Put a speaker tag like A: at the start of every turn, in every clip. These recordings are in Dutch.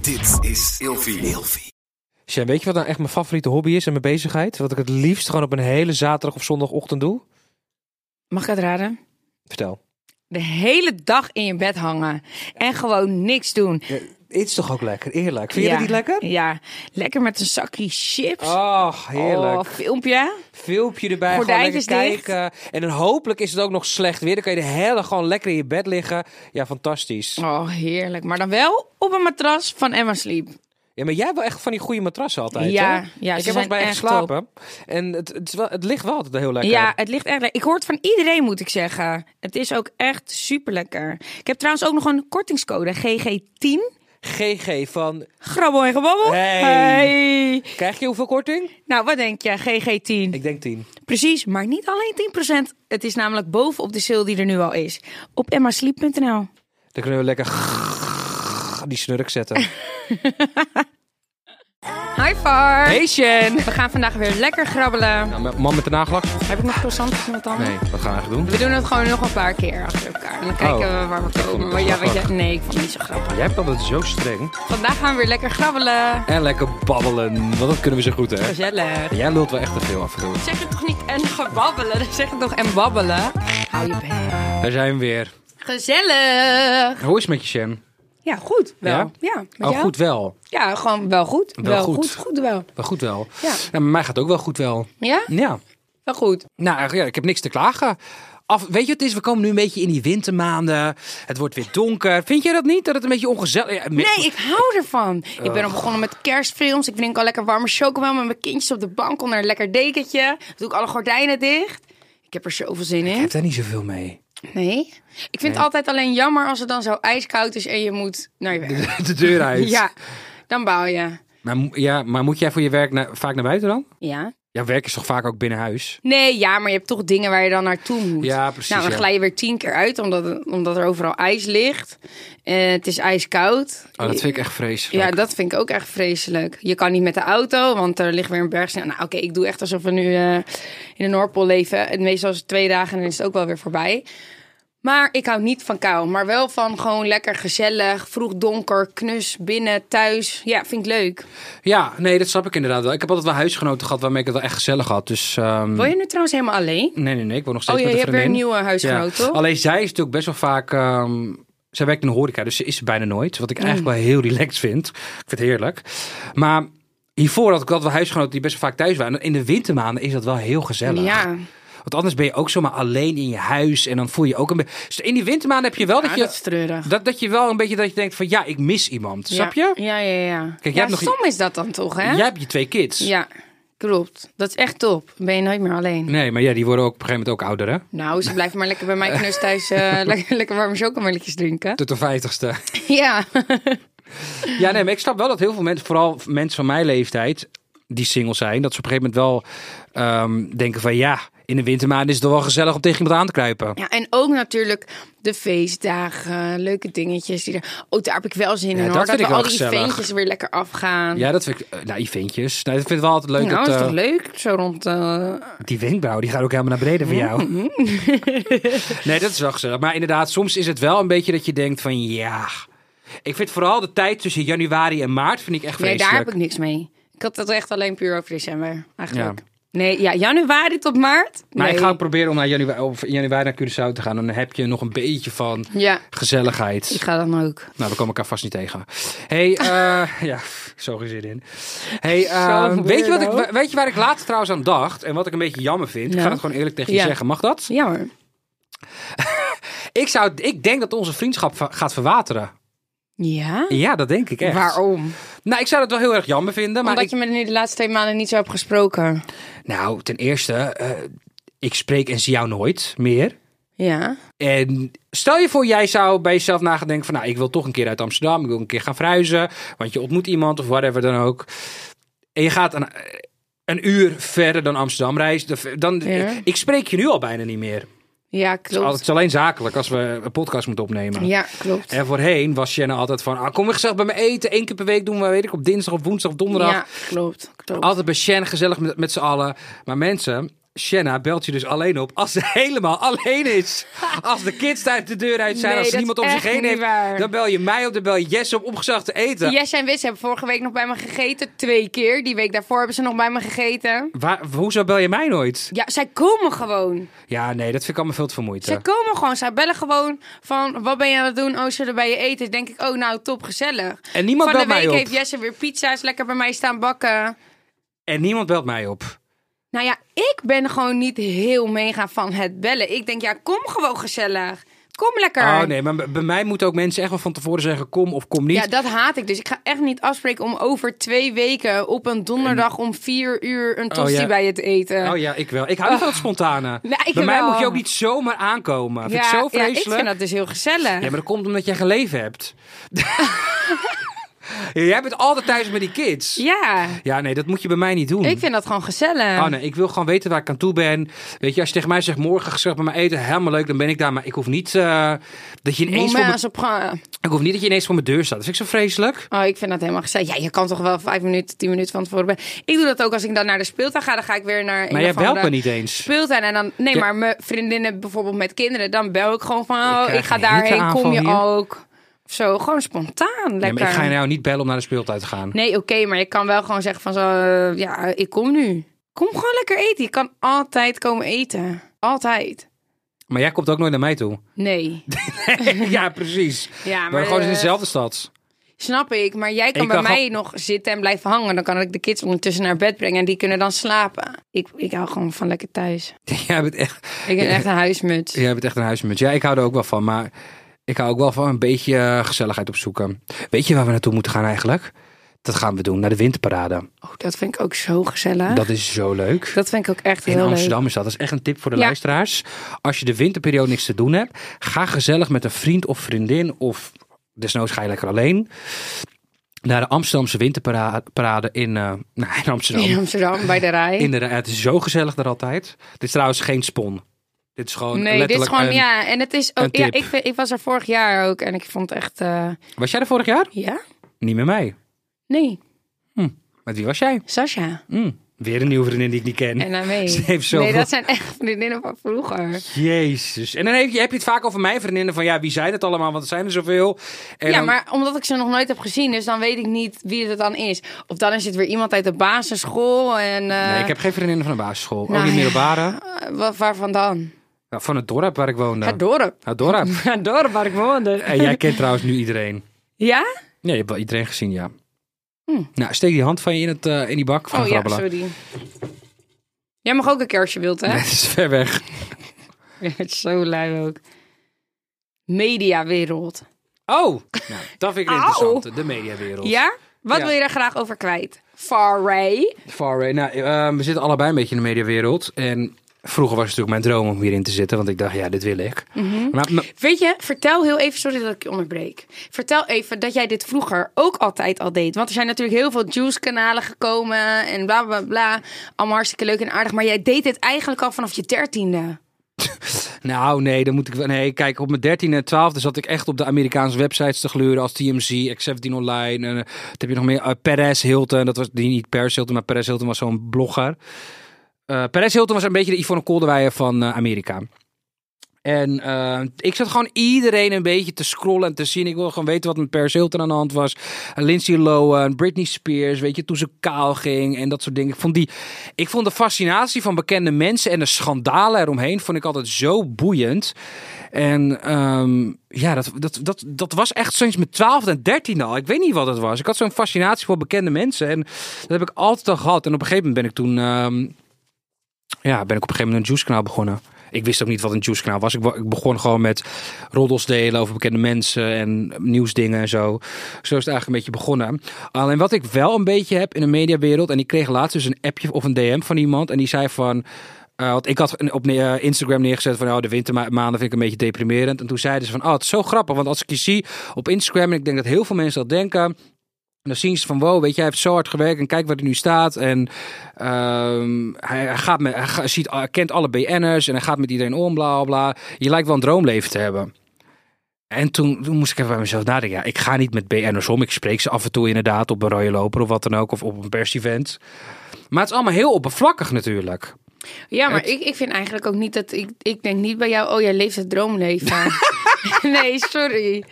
A: Dit is Ilfie.
B: Sjen, weet je wat nou echt mijn favoriete hobby is en mijn bezigheid? Wat ik het liefst gewoon op een hele zaterdag of zondagochtend doe?
C: Mag ik het raden?
B: Vertel.
C: De hele dag in je bed hangen. En gewoon niks doen.
B: Het is toch ook lekker, eerlijk.
C: Ja.
B: Vind je dat niet lekker?
C: Ja. Lekker met een zakje chips.
B: Oh, heerlijk.
C: Oh, filmpje.
B: Filmpje erbij, gewoon lekker
C: Gordijntjes dicht.
B: kijken. En dan hopelijk is het ook nog slecht weer. Dan kan je de hele dag gewoon lekker in je bed liggen. Ja, fantastisch.
C: Oh, heerlijk. Maar dan wel op een matras van Emma Sleep.
B: Ja, maar jij hebt wel echt van die goede matrassen altijd,
C: Ja, ja,
B: hè?
C: ze
B: Ik heb wel
C: zijn
B: eens bij je
C: echt
B: geslapen. En het, het, is wel, het ligt wel altijd heel lekker.
C: Ja, het ligt echt lekker. Ik hoor het van iedereen, moet ik zeggen. Het is ook echt super lekker. Ik heb trouwens ook nog een kortingscode: GG10.
B: GG van...
C: Grabbel en gebabbel.
B: Hey.
C: Hey.
B: Krijg je hoeveel korting?
C: Nou, wat denk je? GG10.
B: Ik denk 10.
C: Precies, maar niet alleen 10%. Het is namelijk bovenop de sale die er nu al is. Op emmasleep.nl.
B: Dan kunnen we lekker die snurk zetten.
C: Hi Far.
B: Hey Sjen!
C: We gaan vandaag weer lekker grabbelen.
B: Nou, mijn man met de nagelak?
C: Heb ik nog croissantjes met tanden?
B: Nee, wat gaan we eigenlijk doen?
C: We doen het gewoon nog een paar keer achter elkaar. En dan kijken
B: Oh.
C: we waar
B: Ik
C: we
B: vond
C: komen.
B: het
C: Maar
B: best
C: ja,
B: wel
C: weet je, nee, ik vond het niet zo grappig.
B: Jij hebt altijd zo streng.
C: Vandaag gaan we weer lekker grabbelen.
B: En lekker babbelen, want dat kunnen we zo goed, hè?
C: Gezellig.
B: Jij lult wel echt te veel af en toe.
C: Zeg het toch niet en gebabbelen? Zeg het toch en babbelen? Hou je bek.
B: Daar zijn we weer.
C: Gezellig.
B: Hoe is het met je, Sjen?
C: Ja, goed wel.
B: Ja?
C: Ja, met
B: Oh,
C: jou?
B: goed wel.
C: Ja, gewoon wel goed.
B: Wel goed.
C: goed. Goed wel.
B: Wel goed wel.
C: Ja.
B: Nou, bij mij gaat het ook wel goed wel.
C: Ja?
B: Ja.
C: Wel goed.
B: Nou, ja, ik heb niks te klagen. Af, weet je wat het is? We komen nu een beetje in die wintermaanden. Het wordt weer donker. Vind jij dat niet? Dat het een beetje ongezellig... Ja, me-
C: Nee, ik hou ervan. Ik
B: Oh.
C: ben al begonnen met kerstfilms. Ik drink al lekker warme chocomel met mijn kindjes op de bank onder een lekker dekentje. Dan doe ik alle gordijnen dicht. Ik heb er zoveel zin
B: Ik
C: in.
B: heb daar niet zoveel mee.
C: Nee. Ik vind het altijd alleen jammer als het dan zo ijskoud is en je moet naar je werk.
B: De deur uit.
C: Ja, dan bouw je.
B: Maar, mo- ja, maar moet jij voor je werk na- vaak naar buiten dan?
C: Ja.
B: Ja, werk is toch vaak ook binnen huis?
C: Nee, ja, maar je hebt toch dingen waar je dan naartoe moet.
B: Ja, precies,
C: Nou, dan
B: ja.
C: glij je weer tien keer uit, omdat, omdat er overal ijs ligt. Eh, het is ijskoud.
B: Oh, dat vind ik echt vreselijk.
C: Ja, dat vind ik ook echt vreselijk. Je kan niet met de auto, want er ligt weer een berg sneeuw. Nou, oké, ik doe echt alsof we nu eh, in de Noordpool leven. En meestal is het twee dagen en dan is het ook wel weer voorbij. Maar ik hou niet van kou, maar wel van gewoon lekker gezellig, vroeg donker, knus, binnen, thuis. Ja, vind ik leuk.
B: Ja, nee, dat snap ik inderdaad wel. Ik heb altijd wel huisgenoten gehad waarmee ik het wel echt gezellig had. Dus, ehm,
C: Woon je nu trouwens helemaal alleen?
B: Nee, nee, nee. Ik woon nog steeds
C: Oh, je-
B: met
C: je
B: een
C: hebt weer een
B: vriendin.
C: nieuwe huisgenoot, toch?
B: Alleen zij is natuurlijk best wel vaak... ehm, zij werkt in de horeca, dus ze is er bijna nooit.
C: Mm.
B: Wat ik eigenlijk wel heel relaxed vind. Ik vind het heerlijk. Maar hiervoor had ik altijd wel huisgenoten die best wel vaak thuis waren. In de wintermaanden is dat wel heel gezellig. Ah,
C: Ja,
B: Want anders ben je ook zomaar alleen in je huis. En dan voel je je ook een beetje... Dus in die wintermaanden heb je wel dat
C: Ah,
B: je...
C: dat is treurig.
B: Dat, dat je wel een beetje dat je denkt van ja, ik mis iemand. Snap je?
C: Ja, ja, ja. ja.
B: jij
C: ja,
B: hebt nog-
C: stom is dat dan toch, hè?
B: Jij hebt je twee kids.
C: Ja, klopt. Dat is echt top. Dan ben je nooit meer alleen.
B: Nee, maar ja, die worden ook op een gegeven moment ook ouder, hè?
C: Nou, ze blijven maar lekker bij mij knus thuis eh, lekker, lekker warme chocomelletjes drinken.
B: Tot de vijftigste.
C: Ja.
B: Ja, nee, maar ik snap wel dat heel veel mensen, vooral mensen van mijn leeftijd, die single zijn, dat ze op een gegeven moment wel ehm, denken van ja, in de wintermaanden is het toch wel gezellig om tegen iemand aan te kruipen.
C: ja. En ook natuurlijk de feestdagen, leuke dingetjes. Die er... Oh, daar heb ik wel zin
B: Ja,
C: in
B: dat
C: hoor. Dat
B: vind ik
C: we
B: wel
C: al die
B: gezellig.
C: eventjes weer lekker afgaan.
B: Ja, dat vind ik, eh, nou, eventjes. Nou, ik vind het wel altijd leuk
C: nou,
B: dat
C: is toch
B: eh,
C: leuk? Zo rond... eh,
B: die wenkbrauw, die gaat ook helemaal naar beneden van jou.
C: Mm-hmm.
B: nee, dat is wel gezellig. Maar inderdaad, soms is het wel een beetje dat je denkt van ja. Ik vind vooral de tijd tussen januari en maart vind ik echt
C: Nee,
B: vreselijk.
C: daar heb ik niks mee. Ik had dat echt alleen puur over december, eigenlijk.
B: Ja.
C: Nee, ja, januari tot maart? Nee.
B: Maar ik ga ook proberen om naar januari, of in januari naar Curaçao te gaan. Dan heb je nog een beetje van
C: Ja,
B: gezelligheid.
C: ik ga dan ook.
B: Nou, we komen elkaar vast niet tegen. hey, eh, ja, zo geen zin in. Hey, eh,
C: Zo
B: weet, je wat
C: weirdo.
B: ik, weet je waar ik laatst trouwens aan dacht? En wat ik een beetje jammer vind. Ik
C: Nou.
B: ga het gewoon eerlijk tegen je
C: Ja.
B: zeggen. Mag dat?
C: Ja hoor.
B: Ik, zou, ik denk dat onze vriendschap va- gaat verwateren.
C: Ja?
B: Ja, dat denk ik echt.
C: Waarom?
B: Nou, ik zou dat wel heel erg jammer vinden. Maar
C: Omdat
B: ik-
C: je me nu de laatste twee maanden niet zo hebt gesproken.
B: Nou, ten eerste, eh, ik spreek en zie jou nooit meer.
C: Ja.
B: En stel je voor, jij zou bij jezelf nagaan denken van... nou, ik wil toch een keer uit Amsterdam, ik wil een keer gaan verhuizen... want je ontmoet iemand of whatever dan ook. En je gaat een, een uur verder dan Amsterdam reizen. Dan,
C: Ja.
B: ik, ik spreek je nu al bijna niet meer.
C: Ja,
B: Het
C: klopt.
B: is alleen zakelijk als we een podcast moeten opnemen.
C: Ja, klopt.
B: En voorheen was Jenna altijd van... Ah, kom weer gezellig bij me eten, één keer per week doen we... weet ik, op dinsdag of woensdag of donderdag.
C: Ja, klopt. klopt.
B: Altijd bij Shen, gezellig met, met z'n allen. Maar mensen, Shanna belt je dus alleen op als ze helemaal alleen is. Als de kids uit de deur uit zijn,
C: Nee,
B: als er
C: dat
B: niemand
C: is
B: om zich
C: echt
B: heen
C: niet
B: heeft,
C: waar.
B: dan bel je mij op, dan bel je Jesse op om gezellig te eten.
C: Yes en Wis hebben vorige week nog bij me gegeten. Twee keer. Die week daarvoor hebben ze nog bij me gegeten.
B: Waar, hoezo bel je mij nooit?
C: Ja, zij komen gewoon.
B: Ja, nee, dat vind ik allemaal veel te veel moeite.
C: Zij komen gewoon. Zij bellen gewoon van, wat ben je aan het doen? Oh, zullen we bij je eten? Denk ik, oh nou, top, gezellig.
B: En niemand
C: Van de
B: belt mij
C: week
B: op.
C: heeft Jesse weer pizza's lekker bij mij staan bakken.
B: En niemand belt mij op.
C: Nou ja, ik ben gewoon niet heel mega van het bellen. Ik denk, ja, kom gewoon gezellig. Kom lekker.
B: Oh nee, maar bij- bij mij moeten ook mensen echt wel van tevoren zeggen kom of kom niet.
C: Ja, dat haat ik dus. Ik ga echt niet afspreken om over twee weken op een donderdag om vier uur een tosti
B: Oh, ja.
C: bij je te eten.
B: Oh ja, ik wel. Ik hou niet van het spontane.
C: Nee, ik
B: bij mij
C: wel.
B: moet je ook niet zomaar aankomen. Vind ik zo
C: ja,
B: vreselijk.
C: ik vind dat dus heel gezellig.
B: Ja, maar dat komt omdat jij geleven hebt. Ja, jij bent altijd thuis met die kids.
C: Ja,
B: Ja, nee, dat moet je bij mij niet doen.
C: ik vind eh, dat gewoon gezellig.
B: Oh nee, ik wil gewoon weten waar ik aan toe ben. Weet je, als je tegen mij zegt morgen gezellig bij mij eten, helemaal leuk, dan ben ik daar. Maar ik hoef niet, eh, dat, je ineens voor
C: Moment
B: mijn,
C: als op gang.
B: ik hoef niet dat je ineens voor mijn deur staat. Dat vind ik zo vreselijk.
C: Oh, ik vind dat helemaal gezellig. Ja, je kan toch wel vijf minuten, tien minuten van tevoren. ben- Ik doe dat ook als ik dan naar de speeltuin ga. Dan ga ik weer naar. een
B: Maar jij
C: of
B: belt
C: andere
B: me niet eens.
C: Speeltuin en dan. Nee,
B: Ja.
C: maar mijn vriendinnen bijvoorbeeld met kinderen. Dan bel ik gewoon van. Oh, ik,
B: krijg
C: ga
B: een
C: daarheen.
B: heteaanval
C: Kom je
B: hier.
C: ook? Of zo. Gewoon spontaan.
B: Nee,
C: Lekker.
B: maar ik ga jou niet bellen om naar de speeltuin te gaan.
C: Nee, oké, maar je kan wel gewoon zeggen van zo, eh, ja, ik kom nu. Kom gewoon lekker eten. Je kan altijd komen eten. Altijd.
B: Maar jij komt ook nooit naar mij toe.
C: Nee.
B: ja, precies.
C: Ja, maar,
B: maar gewoon in
C: eh,
B: dezelfde stad.
C: Snap ik, maar jij kan
B: Ik
C: bij
B: kan
C: mij nog zitten en blijven hangen. Dan kan ik de kids ondertussen naar bed brengen en die kunnen dan slapen. Ik, ik hou gewoon van lekker thuis.
B: jij bent echt,
C: Ik ben echt een huismuts.
B: jij bent echt een huismuts. Ja, ik hou er ook wel van, maar ik hou ook wel van een beetje eh, gezelligheid opzoeken. Weet je waar we naartoe moeten gaan eigenlijk? Dat gaan we doen, naar de winterparade.
C: Oh, dat vind ik ook zo gezellig. Dat,
B: Dat is zo leuk.
C: vind ik ook echt
B: In
C: heel
B: Amsterdam is dat. Dat is echt een tip voor de
C: Ja.
B: luisteraars. Als je de winterperiode niks te doen hebt, ga gezellig met een vriend of vriendin of desnoods ga je lekker alleen naar de Amsterdamse winterparade in, eh, nou, in
C: leuk.
B: Amsterdam.
C: In Amsterdam, bij de rij.
B: Inderdaad, het is zo gezellig daar altijd. Dit is trouwens geen spon. Dit is gewoon
C: Nee, dit is
B: letterlijk
C: gewoon,
B: een-
C: ja. En het is
B: een
C: ook, ja,
B: tip.
C: ik, vind- ik was er vorig jaar ook en ik vond echt, eh,
B: Was jij er vorig jaar?
C: ja?
B: Niet met mij.
C: Nee,
B: Met wie was jij?
C: Sasha.
B: Hm, Weer een nieuwe vriendin die ik niet ken.
C: Mm. En daarmee.
B: Ze heeft zoveel-
C: Nee, dat zijn echt vriendinnen van vroeger.
B: Jezus. En dan heb je, heb je het vaak over mijn vriendinnen. Van ja, wie zijn het allemaal? Want er zijn er zoveel. En
C: ja,
B: dan-
C: maar omdat ik ze nog nooit heb gezien, dus dan weet ik niet wie het dan is. Of dan is het weer iemand uit de basisschool en... eh,
B: Nee, ik heb geen vriendinnen van de basisschool.
C: nou
B: ook niet
C: ja.
B: middelbare.
C: eh, wa- waarvan dan?
B: Ja, van het dorp waar ik woonde.
C: Het dorp.
B: Het dorp.
C: Het dorp waar ik woonde.
B: en jij kent trouwens nu iedereen.
C: Oh Ja?
B: Ja, je hebt wel iedereen gezien, ja.
C: Hm.
B: Nou, steek die hand van je in, het, eh, in die bak van
C: Oh ja,
B: grabbelen.
C: sorry. Jij mag ook een keer als je wilt, hè?
B: Het is ver weg.
C: Het is zo lui ook. Mediawereld.
B: Oh, nou, dat vind ik
C: Au.
B: interessant. De mediawereld.
C: Ja? Wat
B: Ja.
C: wil je daar graag over kwijt? Faray.
B: Far away. Nou, eh, we zitten allebei een beetje in de mediawereld. En vroeger was het natuurlijk mijn droom om hierin te zitten. Want ik dacht, ja, dit wil ik. Maar, maar-
C: Weet je, vertel heel even, sorry dat ik je onderbreek. Vertel even dat jij dit vroeger ook altijd al deed. Want er zijn natuurlijk heel veel juice-kanalen gekomen en bla bla bla. Allemaal hartstikke leuk en aardig. Maar jij deed dit eigenlijk al vanaf je dertiende.
B: nou, nee, dan moet ik... wel- Nee, kijk, op mijn 13 en 12 zat ik echt op de Amerikaanse websites te gluren. Als TMZ, X17 Online. En, eh, wat heb je nog meer? Eh, Perez Hilton. Dat was die niet Perez Hilton, maar Perez Hilton was zo'n blogger. Eh Perez Hilton was een beetje de Yvonne Kolderweijer van eh, Amerika. En eh, ik zat gewoon iedereen een beetje te scrollen en te zien. Ik wil gewoon weten wat met Paris Hilton aan de hand was. Eh, Lindsay Lohan, Britney Spears, weet je, toen ze kaal ging en dat soort dingen. Ik vond, die, ik vond de fascinatie van bekende mensen en de schandalen eromheen... vond ik altijd zo boeiend. En ehm, ja, dat, dat, dat, dat was echt sinds mijn twaalfde en dertiende al. Ik weet niet wat het was. Ik had zo'n fascinatie voor bekende mensen. En dat heb ik altijd al gehad. En op een gegeven moment ben ik toen... ehm, ja, ben ik op een gegeven moment een juice kanaal begonnen. Ik wist ook niet wat een juice kanaal was. Ik, wa- ik begon gewoon met roddels delen over bekende mensen en nieuwsdingen en zo. Zo is het eigenlijk een beetje begonnen. Alleen wat ik wel een beetje heb in de mediawereld, en ik kreeg laatst dus een appje of een DM van iemand en die zei van. eh, want ik had een- op ne- eh, Instagram neergezet van oh, de wintermaanden vind ik een beetje deprimerend. En toen zeiden ze van, oh, het is zo grappig. Want als ik je zie op Instagram, en ik denk dat heel veel mensen dat denken, en dan zien ze van, wow, weet je, hij heeft zo hard gewerkt en kijk waar hij nu staat. En ehm, hij, hij gaat met, hij ga- ziet, hij kent alle BN'ers en hij gaat met iedereen om, bla bla, bla. Je lijkt wel een droomleven te hebben. En toen, toen moest ik even bij mezelf nadenken. Ja, ik ga niet met BN'ers om. Ik spreek ze af en toe inderdaad op een rode loper of wat dan ook. Of op een pers-event. Maar het is allemaal heel oppervlakkig natuurlijk.
C: Ja, maar
B: Het-
C: ik, ik vind eigenlijk ook niet dat... Ik, ik denk niet bij jou, oh, jij leeft het droomleven. nee, sorry.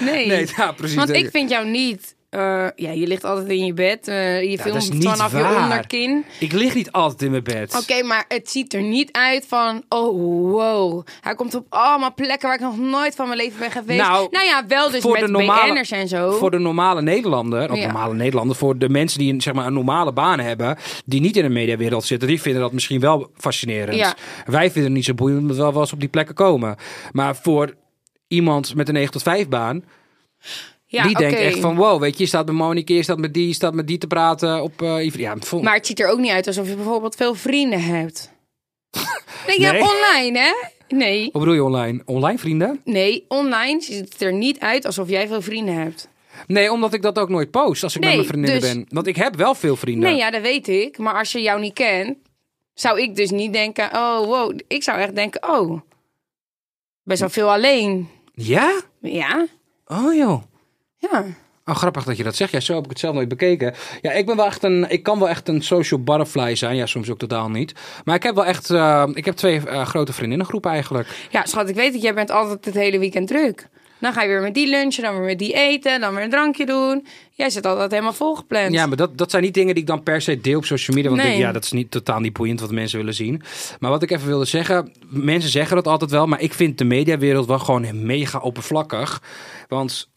C: Nee,
B: Nee, ja, precies.
C: want
B: dat-
C: ik vind jou niet... eh, ja, je ligt altijd in je bed. eh, je
B: Ja, dat
C: filmt
B: is niet
C: vanaf je
B: waar.
C: onderkin.
B: Ik lig niet altijd in mijn bed.
C: Oké, maar het ziet er niet uit van, oh wow. Hij komt op allemaal plekken waar ik nog nooit van mijn leven ben geweest.
B: Nou,
C: Nou, ja, wel dus met BN'ers en zo.
B: Voor de normale Nederlander, of
C: Ja.
B: normale Nederlander, voor de mensen die een, zeg maar, een normale baan hebben, die niet in de mediawereld zitten, die vinden dat misschien wel fascinerend.
C: Ja.
B: Wij vinden het niet zo boeiend omdat we wel wel eens op die plekken komen. Maar voor iemand met een 9 tot 5 baan,
C: ja,
B: die denkt
C: oké.
B: echt van wow, weet je, je staat met Monique, je staat met die, je staat met die te praten op eh, Yves- ja, vol-
C: Maar het ziet er ook niet uit alsof je bijvoorbeeld veel vrienden hebt. nee, je
B: Nee. Oh.
C: hebt online, hè? Nee.
B: Wat bedoel je online? Online vrienden?
C: Nee, online ziet het er niet uit alsof jij veel vrienden hebt.
B: Nee, omdat ik dat ook nooit post als ik met
C: Nee,
B: mijn vriendinnen
C: dus-
B: ben. Want ik heb wel veel vrienden.
C: Nee, ja, dat weet ik. Maar als je jou niet kent, zou ik dus niet denken, oh wow. Ik zou echt denken, oh, best wel veel alleen.
B: ja?
C: Ja,
B: Oh joh.
C: ja.
B: Oh, grappig dat je dat zegt. Ja, zo heb ik het zelf nooit bekeken. Ja, ik ben wel echt een. Ik kan wel echt een social butterfly zijn. Ja, soms ook totaal niet. Maar ik heb wel echt. eh, ik heb twee eh, grote vriendinnengroepen eigenlijk.
C: Ja, schat, ik weet dat jij bent altijd het hele weekend druk. Dan ga je weer met die lunchen, dan weer met die eten, dan weer een drankje doen. Jij zit altijd helemaal volgepland.
B: Ja, maar dat, dat zijn niet dingen die ik dan per se deel op social media. Want
C: Nee.
B: ik- ja, dat is niet, totaal niet boeiend wat mensen willen zien. Maar wat ik even wilde zeggen. Mensen zeggen dat altijd wel. Maar ik vind de mediawereld wel gewoon mega oppervlakkig. Want.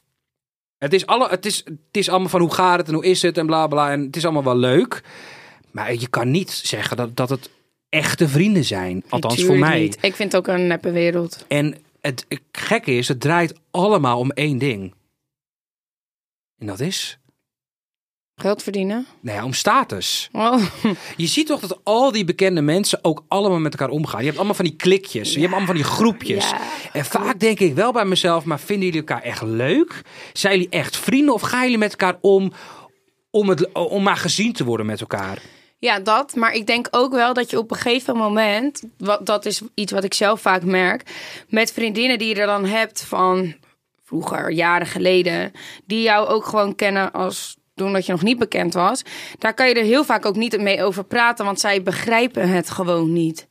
B: Het is, alle, het, is, het is allemaal van hoe gaat het en hoe is het en bla bla. En het is allemaal wel leuk. Maar je kan niet zeggen dat, dat het echte vrienden zijn. Althans voor
C: Tuurlijk
B: mij.
C: niet. Ik vind het ook een neppe wereld.
B: En het gekke is, het draait allemaal om één ding. En dat is,
C: Geld verdienen.
B: nou ja, om status.
C: Oh.
B: Je ziet toch dat al die bekende mensen ook allemaal met elkaar omgaan. Je hebt allemaal van die klikjes, je hebt allemaal van die groepjes.
C: Ja.
B: En vaak denk ik wel bij mezelf, maar vinden jullie elkaar echt leuk? Zijn jullie echt vrienden of gaan jullie met elkaar om om, het, om maar gezien te worden met elkaar?
C: Ja, dat. Maar ik denk ook wel dat je op een gegeven moment, wat, dat is iets wat ik zelf vaak merk, met vriendinnen die je er dan hebt van vroeger, jaren geleden, die jou ook gewoon kennen als toen dat je nog niet bekend was, daar kan je er heel vaak ook niet mee over praten, want zij begrijpen het gewoon niet.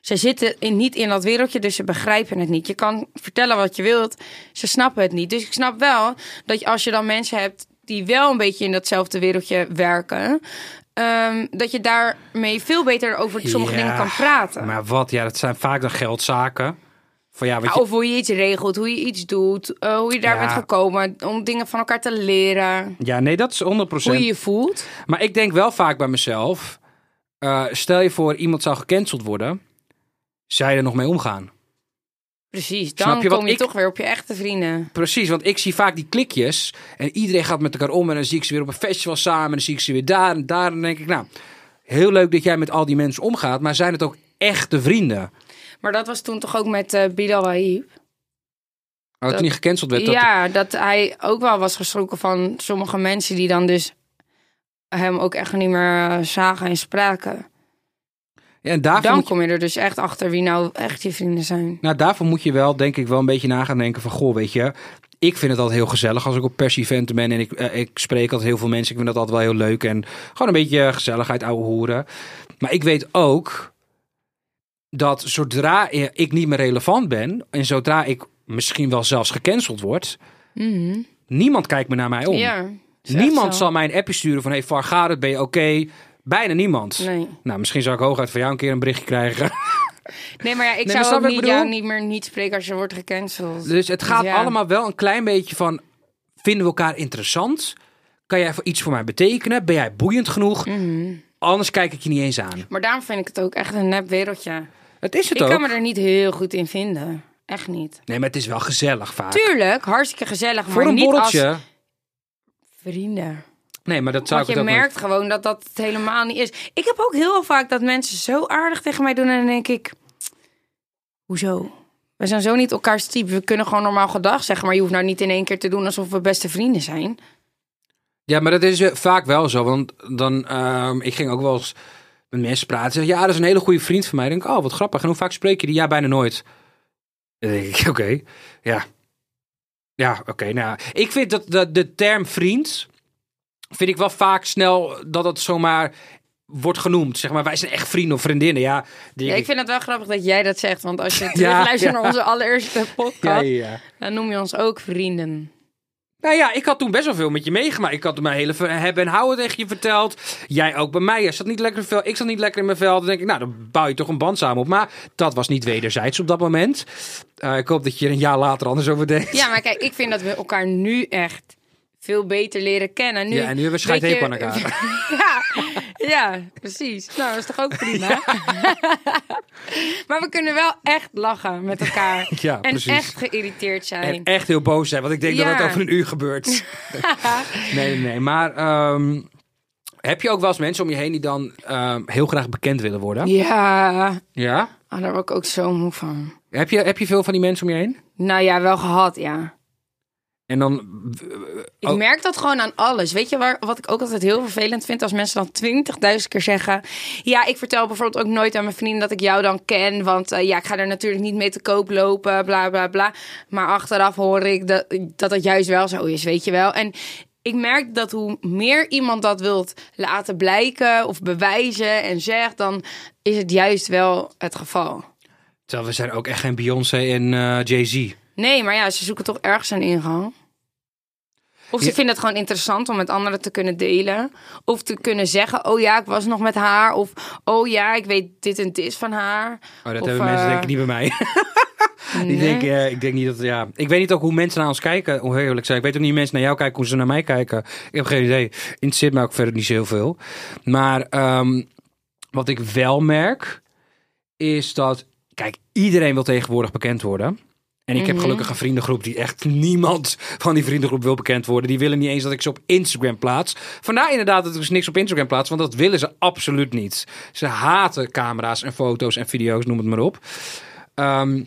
C: Ze zitten in, niet in dat wereldje, dus ze begrijpen het niet. Je kan vertellen wat je wilt, ze snappen het niet. Dus ik snap wel dat je, als je dan mensen hebt die wel een beetje in datzelfde wereldje werken, ehm, dat je daarmee veel beter over sommige
B: Ja,
C: dingen kan praten.
B: Maar wat, ja, dat zijn vaak dan geldzaken. Van ja, wat je,
C: Of hoe je iets regelt, hoe je iets doet, eh, hoe je daar
B: Ja.
C: bent gekomen, om dingen van elkaar te leren,
B: ja, nee, dat is 100%.
C: hoe je je voelt.
B: Maar ik denk wel vaak bij mezelf: eh, stel je voor, iemand zou gecanceld worden, zij er nog mee omgaan.
C: Precies,
B: Snap
C: dan
B: je wat
C: kom je
B: ik-
C: toch weer op je echte vrienden.
B: Precies, want ik zie vaak die klikjes en iedereen gaat met elkaar om en dan zie ik ze weer op een festival samen en dan zie ik ze weer daar en daar en dan denk ik, nou, heel leuk dat jij met al die mensen omgaat, maar zijn het ook echte vrienden?
C: Maar dat was toen toch ook met eh Bilal Wahib?
B: Oh, toen
C: Dat-
B: hij gecanceld werd, dat-
C: ja, dat hij ook wel was geschrokken van sommige mensen die dan dus hem ook echt niet meer eh, zagen en spraken.
B: Ja, en daarvoor
C: Dan
B: moet je,
C: kom je er dus echt achter wie nou echt je vrienden zijn.
B: nou, daarvoor moet je wel, denk ik, wel een beetje na gaan denken van, goh, weet je... Ik vind het altijd heel gezellig als ik op pers-eventen ben en ik, eh, ik spreek altijd heel veel mensen. Ik vind dat altijd wel heel leuk en gewoon een beetje gezelligheid, ouwe hoeren. Maar ik weet ook dat zodra ik niet meer relevant ben en zodra ik misschien wel zelfs gecanceld word,
C: Mhm.
B: niemand kijkt meer naar mij om.
C: Ja, is echt
B: niemand
C: zo.
B: zal mij een appje sturen van hey, Var, gaat het? Ben je oké? Bijna niemand.
C: Nee.
B: Nou, misschien zou ik hooguit van jou een keer een berichtje krijgen.
C: nee, maar ja, ik
B: maar
C: zou
B: snap
C: ook
B: wat ik
C: niet, jou
B: bedoel?
C: niet meer niet spreken als je wordt gecanceld.
B: Dus het gaat
C: Ja.
B: allemaal wel een klein beetje van: vinden we elkaar interessant? Kan jij voor iets voor mij betekenen? Ben jij boeiend genoeg?
C: Mm.
B: Anders kijk ik je niet eens aan.
C: Mhm. Maar daarom vind ik het ook echt een nep wereldje.
B: Het is het
C: Ik
B: ook.
C: kan me er niet heel goed in vinden. Echt niet.
B: Nee, maar het is wel gezellig vaak.
C: Tuurlijk, hartstikke gezellig,
B: voor
C: maar
B: een
C: niet
B: borreltje.
C: als vrienden.
B: Nee, maar dat zou ik
C: Want je
B: het ook
C: merkt gewoon dat dat het helemaal niet is. Ik heb ook heel vaak dat mensen zo aardig tegen mij doen en dan denk ik, hoezo? We zijn zo niet elkaars type. We kunnen gewoon normaal gedag zeggen, maar je hoeft nou niet in één keer te doen alsof we beste vrienden zijn.
B: Ja, maar dat is eh, vaak wel zo. Want dan, ehm, ik ging ook wel eens met mensen praten. Zeggen, ja, dat is een hele goede vriend van mij. Dan denk ik, oh, wat grappig. En hoe vaak spreek je die? Ja, bijna nooit. Dan denk ik, oké, ja. Ja, oké, nou ja. Ik vind dat, dat de term vriend, vind ik wel vaak snel dat het zomaar wordt genoemd. Zeg maar, wij zijn echt vrienden of vriendinnen. Ja, die-
C: Ja, ik vind het wel grappig dat jij dat zegt. Want als je
B: Ja,
C: terugluistert luistert
B: ja.
C: naar onze allereerste
B: Ja,
C: podcast,
B: ja, ja.
C: dan noem je ons ook vrienden.
B: Nou ja, ik had toen best wel veel met je meegemaakt. Ik had toen mijn hele ver- hebben en houden tegen je verteld. Jij ook bij mij. Je zat niet lekker in mijn vel. Ik zat niet lekker in mijn vel. Dan denk ik, nou, dan bouw je toch een band samen op. Maar dat was niet wederzijds op dat moment. Eh, ik hoop dat je er een jaar later anders over denkt.
C: Ja, maar kijk, ik vind dat we elkaar nu echt veel beter leren kennen. Nu,
B: Ja, en nu hebben we scheidhekel
C: weet je-
B: aan
C: ja, ja, precies. Nou, dat is toch ook prima? maar we kunnen wel echt lachen met elkaar.
B: Ja,
C: en
B: precies.
C: echt geïrriteerd zijn.
B: En echt heel boos zijn, want ik denk
C: Ja.
B: dat het over een uur gebeurt. nee, nee, nee. Maar ehm, heb je ook wel eens mensen om je heen die dan ehm, heel graag bekend willen worden?
C: Ja,
B: Ja.
C: ah, daar word ik ook zo moe van.
B: Heb je, heb je veel van die mensen om je heen?
C: Nou ja, wel gehad, ja.
B: En dan.
C: Ik
B: Oh.
C: merk dat gewoon aan alles. Weet je waar, wat ik ook altijd heel vervelend vind? Als mensen dan 20.000 keer zeggen... Ja, ik vertel bijvoorbeeld ook nooit aan mijn vrienden dat ik jou dan ken. Want eh, ja, ik ga er natuurlijk niet mee te koop lopen, bla, bla, bla. Maar achteraf hoor ik dat dat, dat juist wel zo is, weet je wel. En ik merk dat hoe meer iemand dat wilt laten blijken of bewijzen en zegt... dan is het juist wel het geval.
B: Terwijl we zijn ook echt geen Beyoncé en eh, Jay-Z.
C: Nee, maar ja, ze zoeken toch ergens een ingang. Of ze
B: Ja.
C: vinden het gewoon interessant om met anderen te kunnen delen. Of te kunnen zeggen, oh ja, ik was nog met haar. Of, oh ja, ik weet dit en dit van haar.
B: Oh, dat
C: Of,
B: hebben mensen
C: eh,
B: denk ik niet bij mij. die
C: nee.
B: denken, eh, ik denk niet dat, ja. Ik weet niet ook hoe mensen naar ons kijken, hoe eerlijk zijn. Ik weet ook niet hoe mensen naar jou kijken, hoe ze naar mij kijken. Ik heb geen idee. Interesseert mij ook verder niet zo heel veel. Maar ehm, wat ik wel merk, is dat, kijk, iedereen wil tegenwoordig bekend worden. En ik
C: Mhm.
B: heb gelukkig een vriendengroep die echt niemand van die vriendengroep wil bekend worden. Die willen niet eens dat ik ze op Instagram plaats. Vandaar inderdaad dat ik dus niks op Instagram plaats, want dat willen ze absoluut niet. Ze haten camera's en foto's en video's, noem het maar op. Ehm,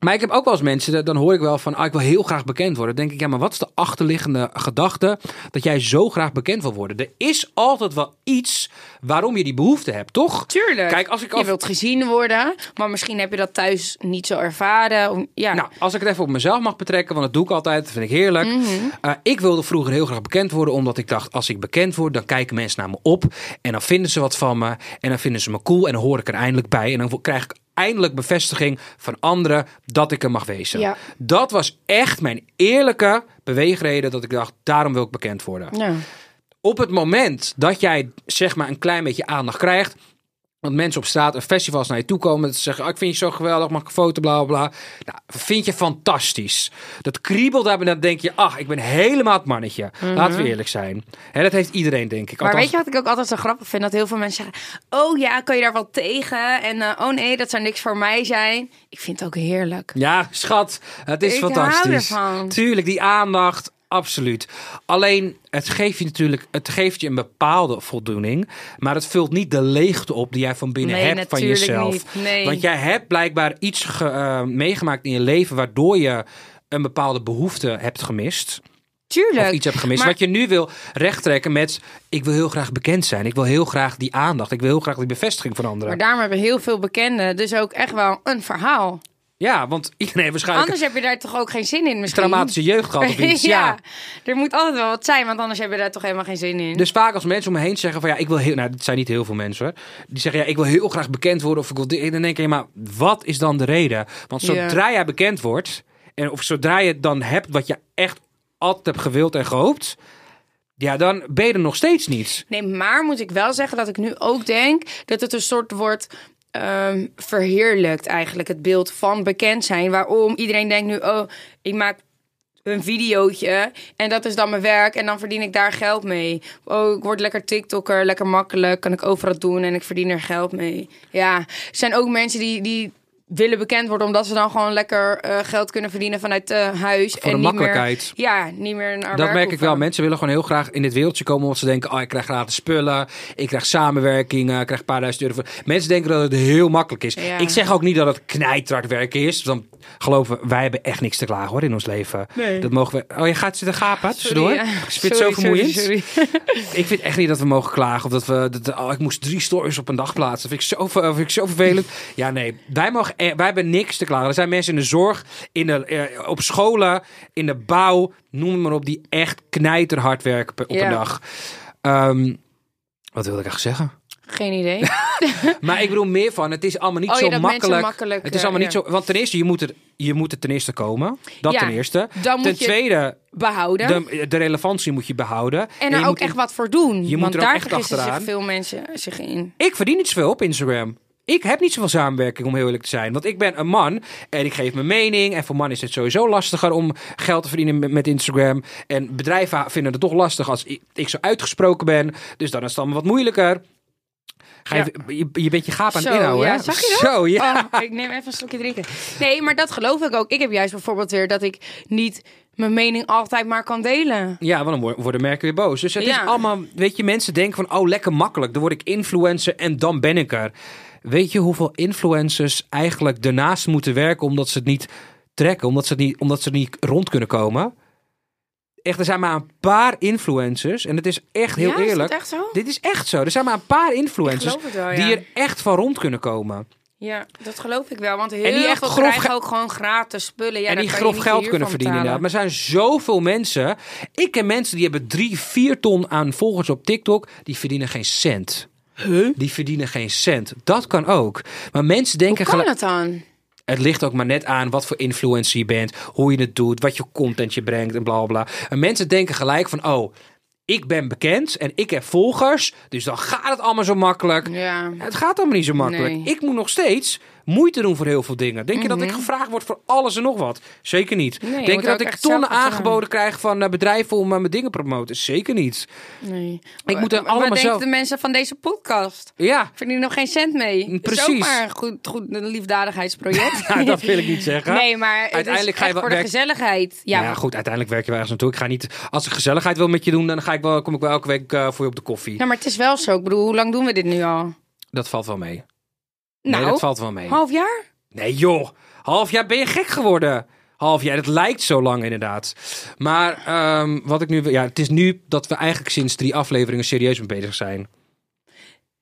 B: maar ik heb ook wel eens mensen, dat- dan hoor ik wel van, ah, ik wil heel graag bekend worden. Dan denk ik, ja, maar wat is de achterliggende gedachte dat jij zo graag bekend wil worden? Er is altijd wel iets waarom je die behoefte hebt, toch?
C: Tuurlijk.
B: Kijk, als ik
C: Je
B: af-
C: wilt gezien worden, maar misschien heb je dat thuis niet zo ervaren. Om- ja.
B: Nou, als ik het even op mezelf mag betrekken, want dat doe ik altijd, dat vind ik heerlijk.
C: Mhm.
B: Eh, ik wilde vroeger heel graag bekend worden, omdat ik dacht, als ik bekend word, dan kijken mensen naar me op. En dan vinden ze wat van me. En dan vinden ze me cool. En dan hoor ik er eindelijk bij. En dan krijg ik eindelijk bevestiging van anderen dat ik er mag wezen.
C: Ja.
B: Dat was echt mijn eerlijke beweegreden dat ik dacht, daarom wil ik bekend worden
C: ja.
B: op het moment dat jij zeg maar een klein beetje aandacht krijgt. Want mensen op straat en festivals naar je toe komen. Dat ze zeggen, ah, ik vind je zo geweldig, mag ik een foto, bla, bla, bla. Nou, vind je fantastisch. Dat kriebelt daar en dan denk je, ach, ik ben helemaal het mannetje. Laten we eerlijk zijn. Hè, dat heeft iedereen, denk ik.
C: Mhm. Maar
B: Althans,
C: weet je wat ik ook altijd zo grappig vind? Dat heel veel mensen zeggen, oh ja, kan je daar wel tegen? En eh, oh nee, dat zou niks voor mij zijn. Ik vind het ook heerlijk.
B: Ja, schat, het is
C: Ik hou
B: fantastisch.
C: ervan.
B: Tuurlijk, die aandacht, absoluut. Alleen, het geeft je natuurlijk, het geeft je een bepaalde voldoening, maar het vult niet de leegte op die jij van binnen
C: Nee,
B: hebt van
C: natuurlijk
B: jezelf.
C: niet. Nee.
B: Want jij hebt blijkbaar iets ge- eh, meegemaakt in je leven waardoor je een bepaalde behoefte hebt gemist.
C: Tuurlijk.
B: Of iets hebt gemist.
C: Maar-
B: Wat je nu wil rechttrekken met... ik wil heel graag bekend zijn. Ik wil heel graag die aandacht. Ik wil heel graag die bevestiging van anderen.
C: Maar daarom hebben heel veel bekenden dus ook echt wel een verhaal.
B: Ja, want iedereen heeft waarschijnlijk
C: Anders heb je daar toch ook geen zin in
B: een
C: misschien?
B: traumatische jeugd gehad of iets. ja.
C: ja, er moet altijd wel wat zijn, want anders heb je daar toch helemaal geen zin in.
B: Dus vaak als mensen om me heen zeggen van ja, ik wil heel, nou, dat zijn niet heel veel mensen, hoor. die zeggen ja, ik wil heel graag bekend worden of ik wil dit. En dan denk ik, ja, maar wat is dan de reden? Want
C: Ja.
B: zodra jij bekend wordt en of zodra je het dan hebt wat je echt altijd hebt gewild en gehoopt, ja, dan ben je er nog steeds niet.
C: Nee, maar moet ik wel zeggen dat ik nu ook denk dat het een soort wordt ehm, verheerlijkt eigenlijk. Het beeld van bekend zijn. Waarom iedereen denkt nu, oh, ik maak een videootje en dat is dan mijn werk en dan verdien ik daar geld mee. Oh, ik word lekker TikToker, lekker makkelijk, kan ik overal doen en ik verdien er geld mee. Ja, er zijn ook mensen die... die willen bekend worden omdat ze dan gewoon lekker eh, geld kunnen verdienen vanuit eh, huis
B: de
C: en niet
B: makkelijkheid.
C: meer ja niet meer een
B: Dat
C: werk
B: merk ik
C: hoeven.
B: wel. Mensen willen gewoon heel graag in dit wereldje komen. Omdat ze denken, oh, ik krijg gratis spullen. Ik krijg samenwerkingen. Ik krijg een paar duizend euro. voor- Mensen denken dat het heel makkelijk is.
C: Ja.
B: Ik zeg ook niet dat het knijtrakt werk is. Want geloof me, wij hebben echt niks te klagen hoor in ons leven.
C: Nee.
B: Dat mogen we... Oh, je gaat zitten gapen tussendoor.
C: Sorry,
B: Ik
C: ja.
B: vind het zo
C: Sorry, sorry,
B: vermoeiend.
C: sorry.
B: Ik vind echt niet dat we mogen klagen. Of dat we... Dat, oh, ik moest drie stories op een dag plaatsen. Dat vind ik zo, ver- vind ik zo vervelend. Ja, nee. Wij, mogen, eh, wij hebben niks te klagen. Er zijn mensen in de zorg, in de, eh, op scholen, in de bouw. Noem het maar op. Die echt knijterhard werken per- op
C: Ja.
B: een dag. Ehm, wat wilde ik echt zeggen?
C: Geen idee.
B: Maar ik bedoel meer van, het is allemaal niet
C: Oh ja,
B: zo
C: dat mensen
B: makkelijk.
C: makkelijk,
B: het is
C: eh,
B: allemaal niet
C: ja.
B: zo. Want ten eerste, je moet er, je moet er ten eerste komen. Dat
C: Ja,
B: ten eerste.
C: dan moet
B: ten
C: je-
B: tweede,
C: Behouden.
B: de, de relevantie moet je behouden.
C: en
B: je
C: er ook
B: moet
C: echt wat voor doen.
B: je moet
C: want
B: er ook
C: daar
B: echt
C: vergissen zich
B: achteraan.
C: veel mensen zich in.
B: ik verdien niet zoveel op Instagram. Ik heb niet zoveel samenwerking, om heel eerlijk te zijn. Want ik ben een man en ik geef mijn mening. En voor mannen is het sowieso lastiger om geld te verdienen met- met Instagram. En bedrijven vinden het toch lastig als i- ik zo uitgesproken ben. Dus dan is het allemaal wat moeilijker. Ga je, je, je bent je gaap aan
C: Zo,
B: het inhouden,
C: ja.
B: hè?
C: Zag je
B: Zo, ja.
C: Oh, ik neem even een slokje drinken. Nee, maar dat geloof ik ook. Ik heb juist bijvoorbeeld weer dat ik niet mijn mening altijd maar kan delen.
B: Ja, want dan wo- worden merken weer boos. Dus het
C: Ja.
B: is allemaal, weet je, mensen denken van, oh, lekker makkelijk. Dan word ik influencer en dan ben ik er. Weet je hoeveel influencers eigenlijk ernaast moeten werken omdat ze het niet trekken, omdat ze het niet, omdat ze er niet rond kunnen komen? Echt, er zijn maar een paar influencers en het is echt heel
C: ja, is dat
B: eerlijk.
C: echt zo?
B: Dit is echt zo. Er zijn maar een paar influencers
C: geloof het wel, ja.
B: die er echt van rond kunnen komen.
C: Ja, dat geloof ik wel. Want heel
B: die echt
C: veel
B: grof
C: krijgen
B: ge-
C: ook gewoon gratis spullen. Ja,
B: en
C: daar
B: die
C: kan je
B: grof
C: niet
B: geld
C: je
B: kunnen
C: huur
B: verdienen.
C: van
B: Inderdaad. Maar er zijn zoveel mensen. Ik ken mensen die hebben drie, vier ton aan volgers op TikTok. Die verdienen geen cent. Die verdienen geen cent. Dat kan ook. Maar mensen denken.
C: betalen. Hoe kan
B: gelijk-
C: het dan?
B: het ligt ook maar net aan wat voor influencer je bent, hoe je het doet, wat je content je brengt en bla bla. bla. En mensen denken gelijk van, oh, ik ben bekend en ik heb volgers, dus dan gaat het allemaal zo makkelijk.
C: Ja.
B: Het gaat allemaal niet zo makkelijk.
C: Nee. Mhm.
B: Ik moet nog steeds moeite doen voor heel veel dingen. Denk je dat ik gevraagd word voor alles en nog wat? Zeker niet.
C: Nee, je
B: Denk
C: wordt
B: je dat
C: ook
B: ik
C: echt
B: tonnen
C: zelf gedaan.
B: aangeboden krijg van eh, bedrijven om eh, mijn dingen te promoten? Zeker niet.
C: Nee.
B: Ik moet er
C: Wat
B: allemaal
C: denken
B: zelf-
C: de mensen van deze podcast?
B: Ja,
C: Verdienen nog geen cent mee.
B: Mm, Precies.
C: Is ook maar een goed, goed een liefdadigheidsproject.
B: nou, dat wil ik niet zeggen.
C: Nee, maar
B: Uiteindelijk
C: uiteindelijk
B: ga je
C: ga je
B: wel
C: voor de
B: werk-
C: gezelligheid. Ja,
B: Ja, goed, uiteindelijk werk je wel ergens naartoe. Ik ga niet, als ik gezelligheid wil met je doen, dan ga ik wel, kom ik wel elke week eh, voor je op de koffie.
C: Ja, Nou, maar het is wel zo. Ik bedoel, hoe lang doen we dit nu al?
B: Dat valt wel mee.
C: Nou,
B: nee, dat valt wel mee.
C: half jaar?
B: Nee, joh. Half jaar ben je gek geworden. Half jaar, dat lijkt zo lang inderdaad. Maar ehm, wat ik nu... wil- Ja, het is nu dat we eigenlijk sinds drie afleveringen serieus mee bezig zijn.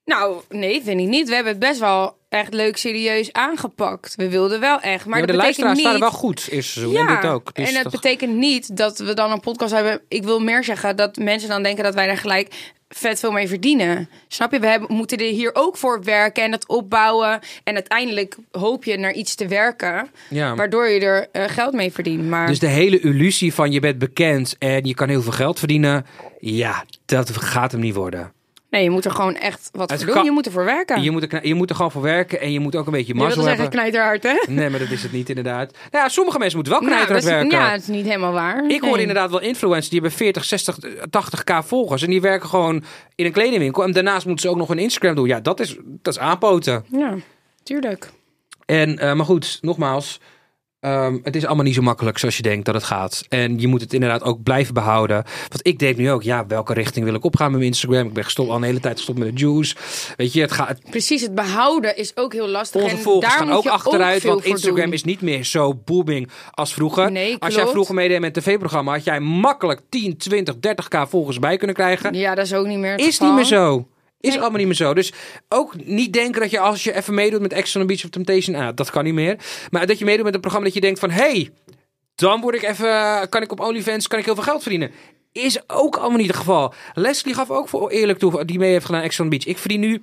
C: Nou, nee, vind ik niet. We hebben het best wel echt leuk serieus aangepakt. We wilden wel echt, maar
B: Ja,
C: dat
B: de
C: betekent
B: luisteraars
C: niet...
B: staan er wel goed, eerste seizoen. en dit ook. Dus
C: en het
B: dat-
C: betekent niet dat we dan een podcast hebben. Ik wil meer zeggen dat mensen dan denken dat wij daar gelijk vet veel mee verdienen. Snap je? We hebben, moeten er hier ook voor werken en dat opbouwen. En uiteindelijk hoop je naar iets te werken,
B: Ja.
C: waardoor je er eh, geld mee verdient. Maar
B: Dus de hele illusie van je bent bekend en je kan heel veel geld verdienen... Ja, dat gaat hem niet worden.
C: nee, je moet er gewoon echt wat
B: Het
C: voor doen.
B: kan-
C: Je moet ervoor werken.
B: Je moet, er, kn- je moet er gewoon voor werken en je moet ook een beetje
C: Je wilde
B: mazzel
C: zeggen
B: hebben.
C: knijterhard, hè?
B: Nee, maar dat is het niet inderdaad. Nou ja, sommige mensen moeten wel
C: Nou,
B: knijterhard
C: dat is-
B: werken.
C: Ja, dat is niet helemaal waar.
B: Ik hoor inderdaad wel influencers die hebben 40, 60, 80k volgers. En die werken gewoon in een kledingwinkel. En daarnaast moeten ze ook nog een Instagram doen. Ja, dat is, dat is aanpoten.
C: Ja, tuurlijk.
B: En, eh, maar goed, nogmaals. ehm, het is allemaal niet zo makkelijk zoals je denkt dat het gaat. En je moet het inderdaad ook blijven behouden. Want ik denk nu ook, ja, welke richting wil ik opgaan met mijn Instagram? Ik ben gestopt, al een hele tijd gestopt met de juice. Weet je, het gaat,
C: Precies, het behouden is ook heel lastig.
B: onze
C: en
B: volgers
C: daar
B: gaan
C: moet
B: ook
C: je
B: achteruit.
C: veel
B: want
C: voor
B: Instagram
C: doen.
B: is niet meer zo booming als vroeger.
C: Nee,
B: als jij
C: klopt.
B: vroeger meedeed met een tv-programma, had jij makkelijk 10, 20, 30k volgers bij kunnen krijgen.
C: Ja, dat is ook niet meer het
B: Is
C: geval.
B: niet meer zo. Is
C: Nee.
B: allemaal niet meer zo. Dus ook niet denken dat je als je even meedoet met Ex on the Beach of Temptation, ah, dat kan niet meer. Maar dat je meedoet met een programma dat je denkt van, hey, dan word ik even, kan ik op OnlyFans, kan ik heel veel geld verdienen. Is ook allemaal niet het geval. Leslie gaf ook voor eerlijk toe, die mee heeft gedaan Ex on the Beach. Ik verdien nu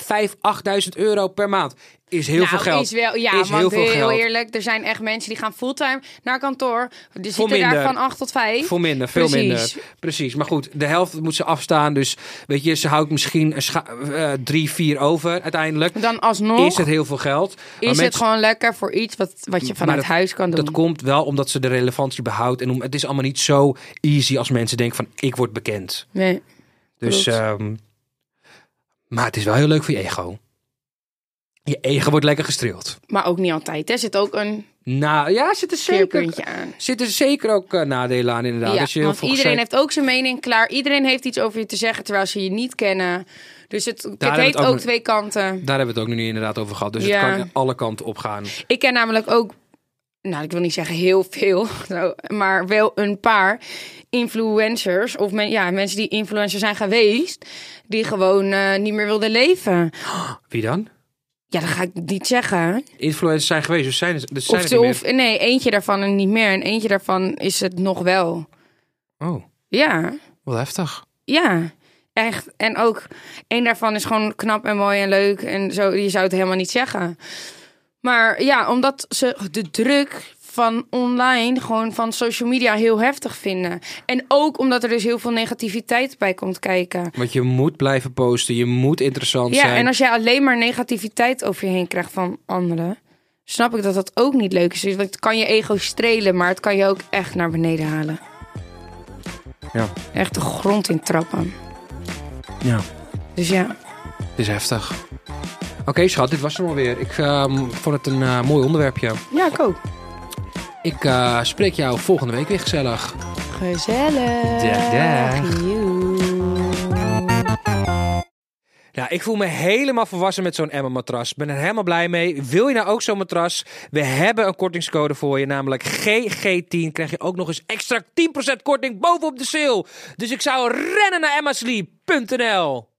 B: 5, 8000 euro per maand. Is heel
C: nou,
B: veel geld.
C: Is wel, ja,
B: Is
C: want
B: heel veel geld.
C: eerlijk, er zijn echt mensen die gaan fulltime naar kantoor. Die zitten
B: minder.
C: daar van 8 tot 5.
B: Voor minder, veel
C: Precies.
B: minder. Precies. Maar goed, de helft moet ze afstaan. Dus weet je, ze houdt misschien een scha- eh, drie, vier over uiteindelijk.
C: Dan alsnog
B: is het heel veel geld. Maar mensen-
C: Hm? het gewoon lekker voor iets wat, wat je vanuit
B: dat-
C: huis kan doen.
B: Dat komt wel omdat ze de relevantie behoudt. En om, het is allemaal niet zo easy als mensen denken van ik word bekend.
C: nee.
B: Dus,
C: Klopt.
B: ehm, maar het is wel heel leuk voor je ego. Je ego wordt lekker gestreeld.
C: Maar ook niet altijd. Er zit ook een
B: Nou ja, zit er zeker,
C: keerpuntje aan.
B: zit er zeker ook eh, nadelen aan inderdaad.
C: Ja,
B: Als je heel
C: want
B: veel
C: iedereen
B: gezegd-
C: heeft ook zijn mening klaar. Iedereen heeft iets over je te zeggen terwijl ze je niet kennen. Dus het, het
B: hebben we
C: heeft
B: het ook
C: ook
B: nog-
C: twee kanten.
B: Daar hebben we het ook nu inderdaad over gehad. Dus
C: Ja.
B: het kan alle kanten op gaan.
C: Ik ken namelijk ook, nou ik wil niet zeggen heel veel, nou, maar wel een paar influencers. Of men, ja, mensen die influencer zijn geweest, die gewoon eh, niet meer wilden leven.
B: Wie dan?
C: Ja, dat ga ik niet zeggen.
B: Influencers zijn geweest, dus zijn, dus zijn
C: Of,
B: er
C: ze,
B: niet
C: of nee, eentje daarvan en niet meer. En eentje daarvan is het nog wel.
B: meer. Oh,
C: Ja,
B: wat heftig.
C: ja. Echt. En ook, één daarvan is gewoon knap en mooi en leuk. En zo, je zou het helemaal niet zeggen. Maar ja, omdat ze de druk van online, gewoon van social media, heel heftig vinden. En ook omdat er dus heel veel negativiteit bij komt kijken.
B: Want je moet blijven posten, je moet interessant
C: Ja,
B: zijn.
C: en als jij alleen maar negativiteit over je heen krijgt van anderen, snap ik dat dat ook niet leuk is. Want het kan je ego strelen, maar het kan je ook echt naar beneden halen.
B: Ja.
C: Echt de grond in trappen.
B: ja.
C: Dus ja,
B: Het is heftig. Oké, schat, dit was hem alweer. Ik ehm, vond het een eh, mooi onderwerpje.
C: ja, ik ook.
B: Ik eh, spreek jou volgende week weer gezellig.
C: Gezellig.
B: Dag, dag.
C: Joe.
B: Nou, ik voel me helemaal volwassen met zo'n Emma-matras. Ik ben er helemaal blij mee. Wil je nou ook zo'n matras? We hebben een kortingscode voor je, namelijk GG10. Krijg je ook nog eens extra 10% korting bovenop de sale. Dus ik zou rennen naar emmasleep.nl.